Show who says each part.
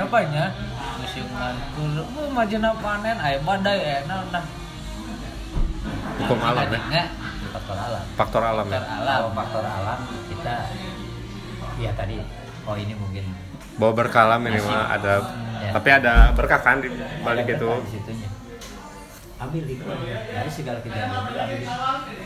Speaker 1: apanya musim ngangkul mau majena panen aya badai enak nah
Speaker 2: Hukum alam ya?
Speaker 1: ya
Speaker 3: faktor alam
Speaker 2: faktor alam
Speaker 1: faktor
Speaker 2: ya
Speaker 1: alam
Speaker 3: kalau faktor alam kita ya tadi oh ini mungkin
Speaker 2: bahwa berkah alam ini mah ada
Speaker 3: Ya.
Speaker 2: tapi ada berkah kan di balik
Speaker 3: ada
Speaker 2: itu
Speaker 3: berkah di situnya ambil hikmah dari segala kejadian